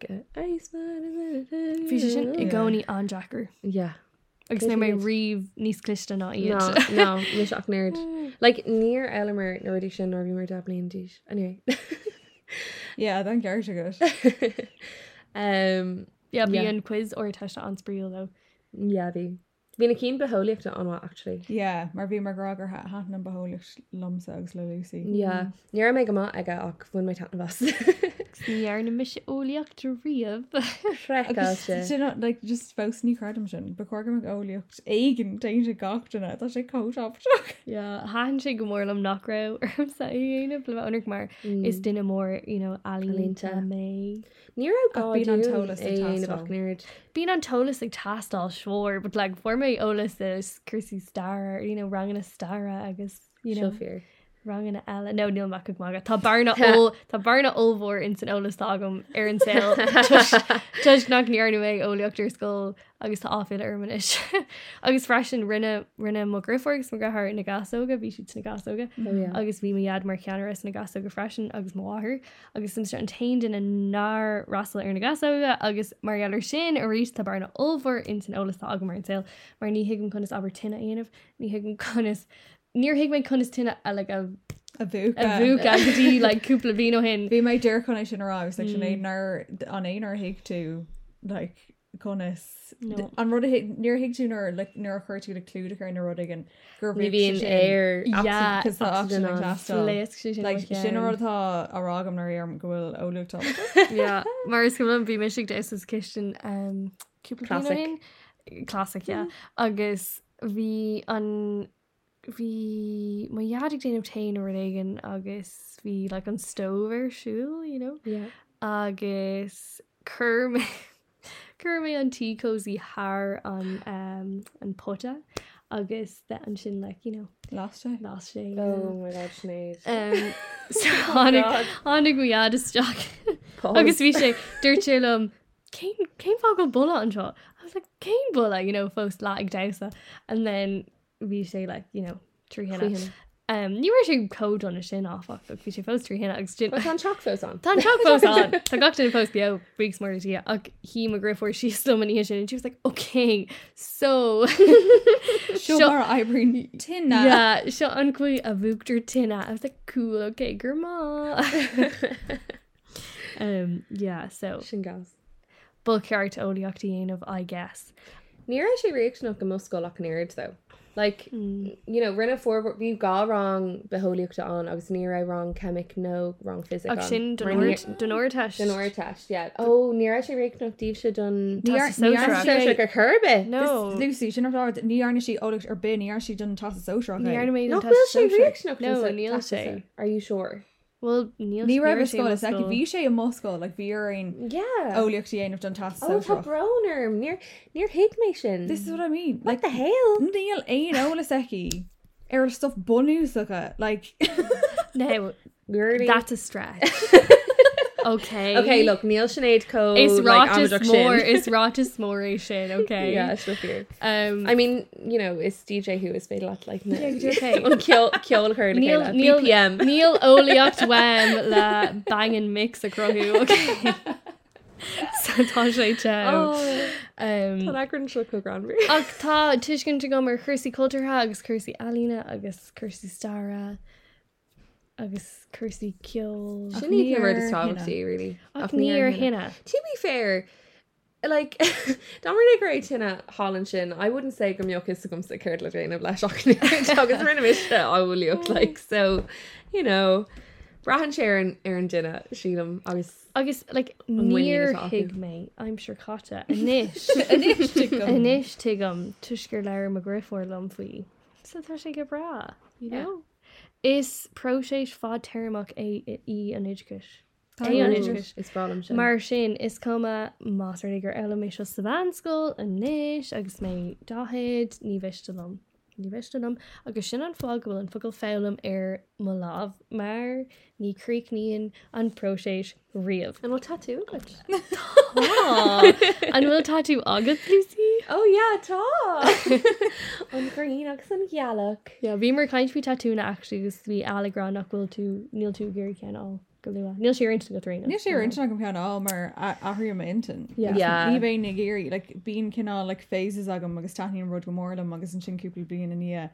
S3: Iceman
S2: Fhí sé sin i
S4: Yeah.
S2: gcóí an Jackar
S3: yeah.
S2: agus na mé
S3: Good.
S2: riomh níos clista ná
S3: No,
S2: iad.
S3: no, mis ach nerd. Like near Elmer Nordic sin or rumor dabbling dish. Anyway.
S4: yeah den ceir se go
S3: um
S2: Yeah, bhí
S3: Yeah.
S2: an quiz orir teiste an spríal le.
S3: yeah, vi. Vi na keen beholíocht anha actually.
S4: yeah mar bhí mar gragur hat hatan an beholach lomsa agus le Lucy Mm.
S3: Yeah. Near me gama aga ach fun my tatna vas.
S2: Níar na mis óíocht a riamh
S3: Frekas.
S4: sin like just fós ní cardam sin becógur an óliocht éigen da se gachtainna tá sé cótá
S2: háan sé go mórlam nachrá ar sa dhéanamh le anir mar is duine mór alínta
S3: Mm. Alínta.
S2: mé.
S3: Near
S4: Ach,
S3: aga
S4: bíonn an
S3: an
S4: tolas an
S3: tolas
S4: tastal.
S3: of nerd.
S2: Bín an tolas ag tastal sór, but like for mé olalas is cursí star, you know, rangan a starra agus you know
S3: fear.
S2: rangan a eile. No níl mac maga. Tá barna ó tá barna óhór in san olalas agam ar an saoil. Tuis nach níarna mé óleachtar scóil agus tá áfid armanis. agus freisin rinne rinne mo griforgus mo gath na gasóga, bhí si na gasóga.
S3: Oh yeah.
S2: agus bhí iad mar ceanras na gasú go freisin agus máthair agus sin an tain in ná rasal ar na gasúga agus mar ealar sin a rís tá barna óhar in san olalas tá aga mar an saoil mar ní higann chunas aber tinna aanamh ní higann chunas Níor hiic mé chunas tinna eile a
S4: a um, bhú
S2: a bhúca gotí leúpla bhíó hin
S4: Bhí mé dear chuna sin ará gus sin
S2: Hmm.
S4: éonar an éonar hiic tú le conas
S2: No.
S4: an rud níor hiic túnar le nuair chuirtú le clúda ar na rudig an gur
S3: Ni vi an air.
S2: Yeah,
S4: cos tá
S3: oxygen on.
S4: sin
S2: Léas sé sin
S4: le
S2: mar
S4: sin
S2: ceann.
S4: rutá arágam nar ar gohfuil óútá
S2: Yeah, mar is gom bhí meisiigh de is cin cúpla
S3: Classic. Mm.
S2: classic classic yeah. agus bhí an hí mai jadig déanam tain or aigen agus hí le an stoversiúil you know
S3: yeah
S2: agus chum chum mé an tí cosí haar an um, an pota agus de an sin le like, you know
S4: Last time.
S2: lá sé
S3: oh my god sneeze
S2: Um, so hánig hánig go iad isteach
S3: Pause.
S2: agus bhí sé dúirtilm céim fá go bula anseo céim bula you know fós lá ag dasa an then bhí sé le you know trí
S3: Fíohanna.
S2: hena um níhar sé cód an sin áfach bhí sé fós trí hena agus sin
S3: What's on chalk those on
S2: Tá cho fós an Tá gatain fós beo brig martí ach hí a griffuir sí slumí sin and she was like okay so
S4: Sure, Mara, I bring Tina.
S2: Yeah, seo ancuí a bhúgtar tinna a the cool okay gur má um yeah so
S3: sin gas
S2: bul ceart óíochtta dhéanamh I guess
S3: Níor é sé réach nach go moscó lech nnéir though. Like mm. you know rinne for bhí gá rang beholíochtta an agus ní ra wrong chemic nó wrong physics
S2: ach sin
S3: Mar níor- Den oir
S2: donirte
S3: test yeah. Oh ní ra sé réic nach díobh se don
S4: Ní ar-
S2: Tá sa
S4: ní ar
S2: sósra.
S4: sé-
S3: sé gur chube
S2: no
S4: Lucy, sin ar ní arna sí ólacht ar bin, ní ar sí dun tas a social.
S2: Ní arna mé
S3: nach
S2: an
S3: bhfuil sé
S2: tasa-
S3: réic nach
S2: No, níl sé
S3: Are you sure?
S2: well níl
S4: Ní
S2: níl
S4: raibh
S2: sé
S4: scoil,
S2: mo
S4: it's like, bhí sé in Moscow, like, bhí ar ein
S3: Yeah.
S4: ólacht dhéanamh dun tas
S3: Oh
S4: a
S3: tá
S4: social.
S3: bronerm níor níor hiic mé sin.
S4: This is what I mean.
S3: What
S4: Like,
S3: the hell?
S4: Níl ein óla seci ar er stuff bunú sucha, like...
S2: no
S3: Gurdy.
S2: that's a stretch okay
S3: Okay, look, Neil Sinead Co.
S2: it's
S3: like,
S2: rotus
S3: Amadeus Shin.
S2: more it's rotus more shit okay
S3: Yeah, it's not weird.
S2: um
S3: I mean, you know, it's DJ who is made a lot like
S2: Yeah,
S3: that.
S2: you're okay.
S3: Kill, kill her.
S2: Níl
S3: Neil, Neil,
S2: níl
S3: BPM.
S2: níl óíocht wem le bangin mix a crothú okay satá sé te
S3: Oh.
S2: Um,
S3: Tá agran seo go granmir.
S2: ach tá tuiscin te go mar chusaí cultúrtha agus chusaí alína agus chusaí starra agus chusaí ceol
S3: Shouldn't even wear
S4: níor
S3: the song
S4: hinna.
S3: to you, really.
S2: ach níor hinna
S3: To be fair, like, don't really agree to Holland Shin. I wouldn't say Gumyok is to come to Kirdla Jane of Lash Ochnir. Because we're in a mission, I will look like. So, you know, Brahan Sharon, Erin Dinna, Sheelam, I was.
S2: agus like
S3: bhfuil níor
S2: níor
S3: atá acu.
S2: hiig mé I'm sure chatta inis
S4: Anis to go.
S2: inis tuigem tuisgur leir a griffór lom faoi sa tá sé go bra you know is proséis fád teach é i- í an idircus é an idircus
S3: It's Brahan Shin.
S2: Mar sin is cuma másir gur eimi se savánscoil a níis agus mé dahéid ní bhistelumm. Ní bhistelumm agus sin an fág bhfuil an focail fém ar má láh Er mar nírí níon an proséis riamh. Ah.
S3: And what tattoo? Good.
S2: an bhfuil taú agat Lucy?
S3: Oh yeah, tá an green agus an gealach.
S2: Ja bhí mar caiint fi tatúna eú gus bhí alerán nach bhfuil tú níl tú géir cean á go luúa. Níl sé insta go trína.
S4: Ní sé ar intina go peanna á oh, mar ahrú intin.
S2: Yeah.
S3: Yeah.
S4: Ní bhé na géirí, le bíon cinná le phases agam agus taíon rud go mórlam agus an sinúpla bíon in í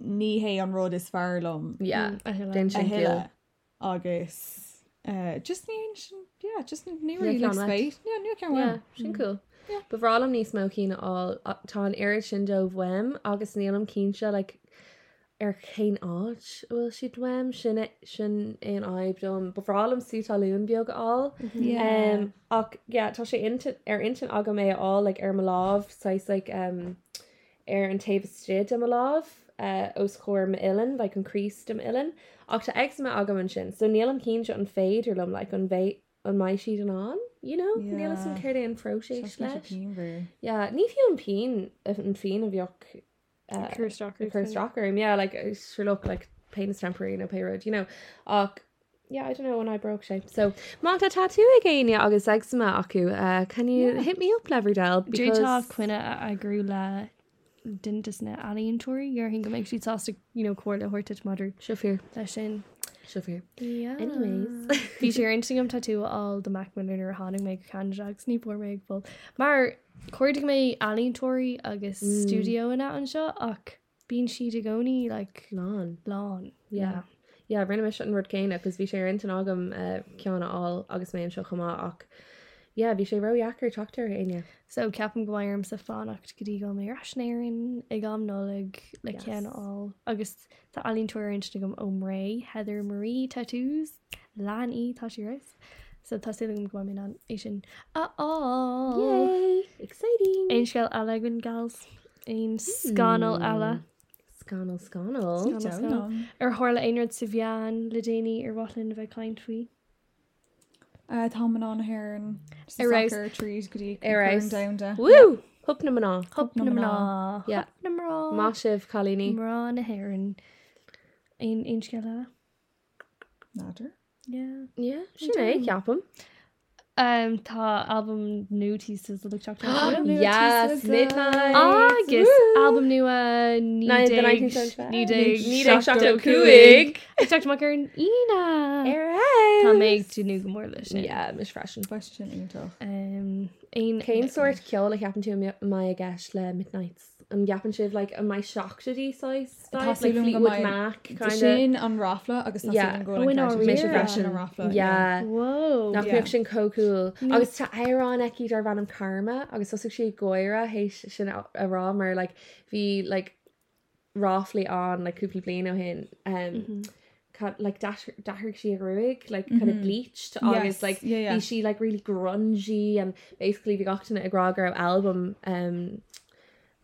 S4: níhé eh, an rud is fearlam
S3: Yeah,
S2: Mm, a hill.
S3: den
S4: a
S3: sin
S4: heile
S3: gil.
S4: agus uh, just ní sin yeah, just ní
S3: Níor ceann leat.
S4: féit nu
S3: Yeah,
S4: ce
S3: sin cool. Bhrálam níos mó cín á tá an air sin do bhfuim agus nílam cín se le ar chéin áit bhfuil si dweim sinna sin in aib dom. Bhrálam si talún beag á Um, ach yeah, tá sé intin- ar intin aga mé á le ar maláh sais like, um, ar an taobhstrid am maláh uh, os chóir ma ilan bheit an críist am ilan ach tá eag me agam an sin so níl an cín se an féidir lom le an bheith an mai siad an an you know níl is an
S4: Yeah.
S3: céir an froéis leis
S4: Cínhir.
S3: yeah ní fiú an pín an fin a bheoch
S4: Uh,
S2: Kirstocker.
S3: Chris Rocker, and yeah, like it's sure look like pain is temporary, no pay road, you know. Och, yeah, I don't know when I broke shape. So, Monta tattoo again, yeah, August eczema aku. Uh, can you yeah. hit me up, Leverdale?
S2: Dútá chuine a grú le dintas na aíontóirí ar hin go méid sítáasta cuair le thuirte madú
S3: Shafir,
S2: lei sin.
S3: Shafir.
S2: Anyways, Bhí sé intingam tatú all do Macmanir ar hánig méid canjaachs ní por méid bol. Mar chuirdig mé aíontóirí agus
S3: Mm.
S2: studio inna an seo ach bíon siad a gcóí le
S3: Lon.
S2: lán.
S3: Yeah. Yeah, rinne me shutting word cane because we share into Nogam, uh, Kiana all, August May and Shochama, och. Yeah, we share row yacker, talk to her, ain't ya?
S2: So ceapan gohairm sa fánacht go dtí go mé rasnéirn i gam nóleg le
S3: Yes.
S2: ceanáil agus tá alínúirn na gom óm ré heather Marie tatús lán í tá si ris so tá si gom gomin an é sin aá
S3: Yay! Exciting!
S4: Hmm.
S2: Ein sell agan gals ein scanal eile scanal scanal.
S6: Ar hála aonrad sa bhean le déine ar bhlinn bheith caiint faoi.
S4: Tá man an hair an
S6: Arouse.
S4: trees go
S2: Arouse.
S4: down
S2: Woo! Hup na mana.
S6: Hop na mná
S2: Yeah.
S6: na mrá
S2: Má sibh Colíní.
S6: mrá na hairan aon ince le.
S4: natter.
S6: Yeah.
S2: Yeah, sin é ceapam.
S6: Um, tá album nutí sa le teach.
S2: Yes, midnight.
S6: Agus
S2: Woo!
S6: album uh, nua
S2: Nine- the 1975. Ní déag seachta cúig.
S6: Teach mar ar an ina Tá
S2: Arouse.
S6: méid tú nu go mór leis
S2: Yeah, mis freshen.
S4: Question toch.
S6: Um,
S2: Cain sort ceol ag gapan tú mai a gceis le midnights. An gapan sibh like, a mai seachta dí sais.
S4: Tá
S2: like
S4: sílim go
S2: Fleetwood
S4: mai-
S2: Mac, kind
S4: sin an rafla agus tá
S2: Yeah.
S4: sílim
S6: Oh, in
S4: go
S6: our
S4: leis
S6: rear.
S4: an rafla.
S2: Yeah.
S6: Whoa.
S2: nach
S4: Yeah. Mm.
S2: yeah. sin cocúil agus tá érán eici ar bhanam karma agus thosa sé goire hééis sin a a rá mar like hí like ráfli an like cúpla blian ó hin
S4: Mm-hmm.
S2: um, ca- like dahraigh si a ruig like kind of bleached
S4: Yes,
S2: agus like
S4: yeah, yeah.
S2: bhí si like really grungy and basically bhí gachtain a grágur album um,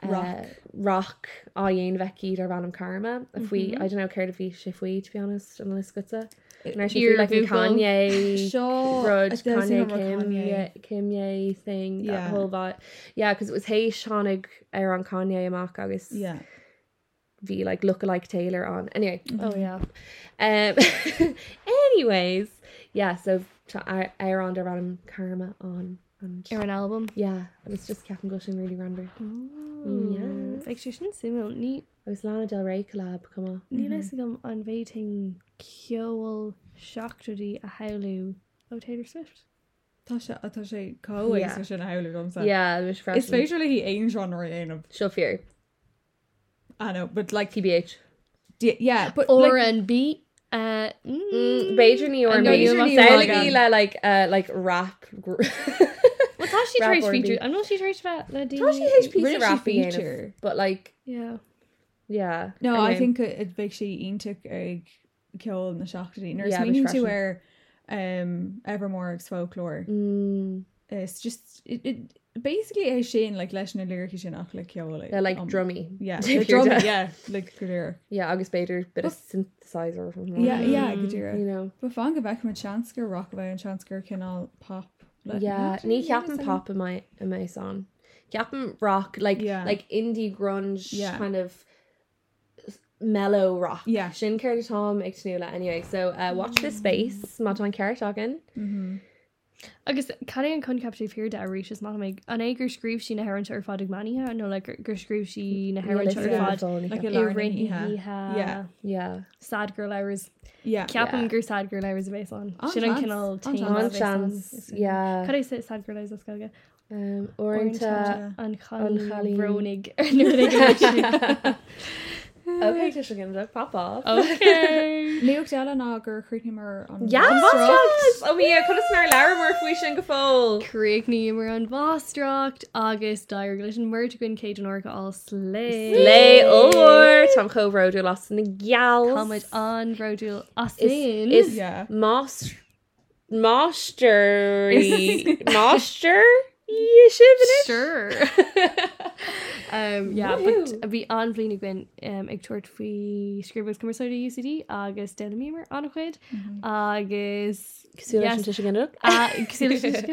S4: Rock.
S2: uh, rock á dhéon bheitcí ar bhanam karma a faoi
S4: Mm-hmm.
S2: I don't know céir a bhí si faoi to be honest an liscuta Nar si
S6: Ear
S2: like an
S6: vocal.
S2: Kanye
S4: Sure.
S2: Rud,
S4: I've never seen
S2: Kanye,
S4: him with
S2: Kim,
S4: Kanye.
S2: yeah, Kimye thing, yeah.
S4: Yeah.
S2: that whole lot. Yeah, because it was hey Seanig er on Kanye amach agus yeah.
S4: Yeah.
S2: be like lookalike Taylor on. Anyway,
S4: Mm-hmm.
S6: Oh yeah.
S2: um, anyways, yeah. So er on around karma on and
S6: Ar an album.
S2: yeah, it was just Captain Gushing really random.
S6: Mm, Feic sé sin simú ní
S2: It was Lana Del Rey collab. Come on,
S6: ní
S4: Mm-hmm.
S6: leis gom an bhéting ceol seachtraí a heú ó Taylor Swift.
S4: Tá sé atá sé cóéis
S2: Yeah.
S4: sin heúla gom sa.
S2: yeah, it was fresh.
S4: Is féidir le hí aon genre aanam.
S2: She'll fear
S4: Anna, but like he
S2: TBH.
S4: d- yeah, but
S6: Or
S4: like,
S6: an B uh,
S2: Beidir ní Mm, or
S6: know
S2: me.
S6: you
S4: must
S2: Sound
S4: say
S2: like me
S4: that.
S2: like uh like rap. gr-
S6: Tá si
S2: Rap
S6: éis
S2: or
S6: feature
S2: beat.
S6: an si éis le dí
S2: Well, she is piece
S4: Really
S2: of rap
S4: feature.
S2: feature, but like,
S6: Yeah.
S2: yeah.
S4: no, I
S2: Anyway.
S4: think it big sé ionach ag ceol na seachtaí. Nurs
S2: Yeah,
S4: yeah,
S2: but
S4: meaning
S2: freshen.
S4: to wear um evermore ex folklore.
S2: Mm,
S4: It's just it, it basically é sin like leis na lyricí sin ach le ceol.
S2: they're like drummy.
S4: Um, Yeah,
S2: If
S4: the
S2: you're
S4: drum,
S2: deaf.
S4: yeah, like good lyric.
S2: Yeah, August Bader, bit of synthesizer or something.
S4: Yeah, yeah, good lyric.
S2: Mm. You know.
S4: But fan go back with Chansker, Rockaway, and Chansker can all pop. Like,
S2: Yeah,
S4: actually,
S2: ní ceapan
S4: some-
S2: pop in my in my song. Ceapan rock, like
S4: Yeah.
S2: like indie grunge
S4: Yeah.
S2: kind of mellow rock.
S4: Yeah. Mm.
S2: Sin Kerry Tom Ictanula. Anyway, so uh, watch this space. Matan Kerry Togan.
S4: Mm-hmm.
S6: agus cad an chun captí fear de aéis is má méid an é gur scríb sin na heranse ar fádig maníthe nó le gur scríb si na heranse
S4: listen
S6: ar
S4: to
S6: fád
S4: Like a
S2: Yeah.
S4: Lauren Yeah.
S6: riníthe
S2: Yeah.
S6: sad gur leirs
S4: Yeah.
S6: ceapan gur sad gur leirs a bhééis an
S4: An
S6: sin an
S4: chance,
S6: cinál
S4: an
S2: On chance. Yeah.
S6: Cad é sé sad gur leirs a scoga
S2: Um, Oranta.
S6: an
S2: an
S6: chalí
S2: Chailín.
S6: ronig
S2: Okay, Tishagan, look, pop off.
S6: Oh.
S4: Luke Della Nagar, Creepy Mirror on
S2: Yeah, Vostracht. Oh, yeah, could have snarled Larimore if we shouldn't go full.
S6: Creaig ní mar an bvástracht agus dair leis an muir gin céid an orca á slé
S2: Lay or Tom Cove Road, you lost in the gals.
S6: Táid an roiúil as
S2: is,
S6: sin
S2: is
S4: Yeah.
S2: yeah. Moss. Mostery. Moster? You should
S6: sure um yeah
S2: Woohoo.
S6: but bhí anhlín a gin um ag tuairt faoi scríbas commerceáide UCD agus de mímar anachchuid agus
S2: have been it.
S6: Ah, cosúla sin tuiscint.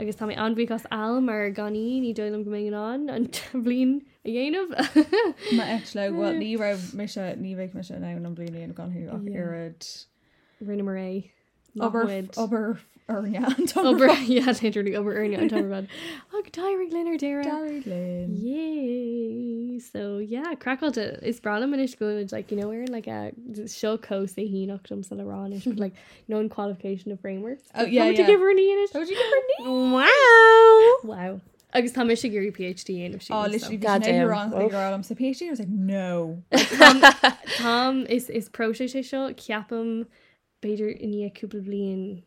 S6: agus tá mé anbhíchas alm ar ganí ní ddóilm go mé an an t- bblin a dhéanamh
S4: Ma Etlo, what Lee Rove Misha, Neve Misha, now non Blue Lean gone who Irid.
S6: rinne mar é
S4: Ober,
S6: Lochwood.
S4: Ober, Ernia,
S6: Ober yeah, literally Ober Ernie on top of that. Oh, Tyrick Leonard era.
S4: Darlin.
S6: Yay! So yeah, crackle to it's Brahma and it's good. Like you know we're in like a show coast that he knocked him so ironish, but like known qualification of framework.
S4: Oh, yeah,
S6: How would you
S4: yeah. Oh.
S6: give her an E in it?
S4: How would you give her
S2: Wow.
S6: Wow. I guess Thomas should get your PhD in if she.
S4: Oh,
S6: wants,
S4: literally,
S6: so.
S4: God
S2: Goddamn.
S4: damn. Wrong,
S2: Oof.
S4: the girl, I'm so PhD. I was like, no.
S6: Um, Tom is is pro sé sé seo ceapam beidir iní cúpla blion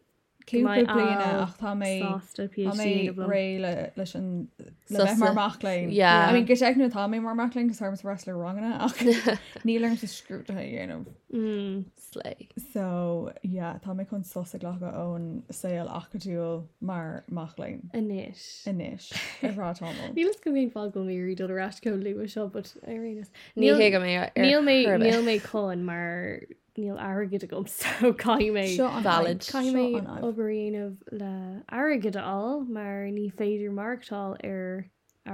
S7: cúpla
S4: Mai
S7: bliana
S4: all
S7: ach tá mé
S8: sásta
S7: tá
S8: PhD
S7: mé
S8: na blom.
S7: ré le leis an le
S2: Sosa.
S7: bheith mar maclain.
S2: Yeah.
S7: I mean go teicnú tá mé mar maclain gus armas wrestler rangna ach nílarm sa scrúta dhéanamh.
S4: Mm.
S2: Slay.
S7: So yeah, tá mé chun sosa lecha ón saoil achaúil mar maclain
S4: Anis.
S7: inis arátáil.
S4: Nílas go bhíon fáil go méí do ras go lú seo, but arénas.
S2: Ní hé go mé
S4: Níl mé níl mé con mar níl agad a gom so cai mé
S7: Seo an
S2: Valid.
S7: aibh,
S4: Cai
S7: seo
S4: mé
S7: an aibh.
S4: óíanamh le agad á mar ní féidir marktá ar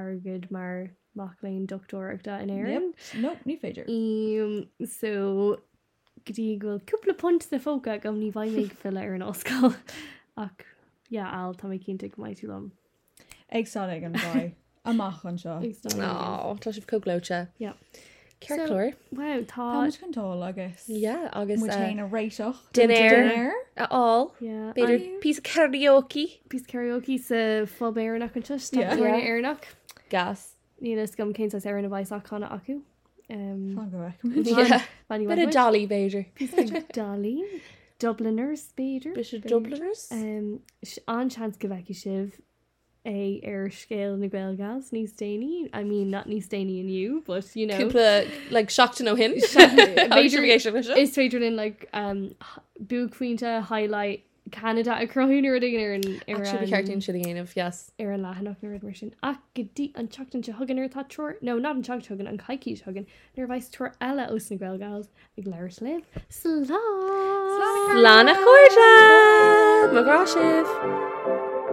S4: agad mar machlaon doctorachta in éan.
S7: Yep. Nope, ní féidir.
S4: Um, so gotí ghfuil cúpla pont de fóca gom ní bhaimé fill ar an oscail ach al tá mé cinnta go maiid tú lom.
S7: Agsá ag an bhá amach an seo.
S2: ná tá sib coglote
S4: Yeah. So-
S2: Ceirlóir
S4: Wow, tá
S7: Táid chutá agus
S2: agus
S7: muché a réisioch
S2: Dinéir.
S7: Dinéir.
S2: aá
S4: Yeah,
S2: beidir pí karaoke
S4: pís karaoke sa fob éarnach an tuis
S7: Yeah.
S2: Yeah.
S4: éarnach
S2: gas
S4: Nílas gom céint ar an bhaach chuna acu Um,
S7: Tá go
S2: Yeah. bit a dolly beidir
S4: Dalí Dubliners Beiidir
S2: Bis Dubliners
S4: um, anchans go bheici sibh é ar scéil na ghilgas níos déine I mean not níos déine in you but you know
S2: Cúpla le seachtain ó hin
S4: is féidir in like um, h- bú quinta highlight Canada a croúnar ar an ar an-
S2: ceartún si dhéanamh yes
S4: ar an lehanach na rid mar sin ach go dtí an teachtain se thugan ar tá troir nó ná an teach thugan an caiici thugan nar bhaéis tuair eile os na ghilgáils ag leir slih slá
S2: Lána chuirte Mará sih.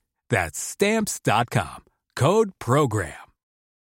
S9: That's stamps.com. Code program.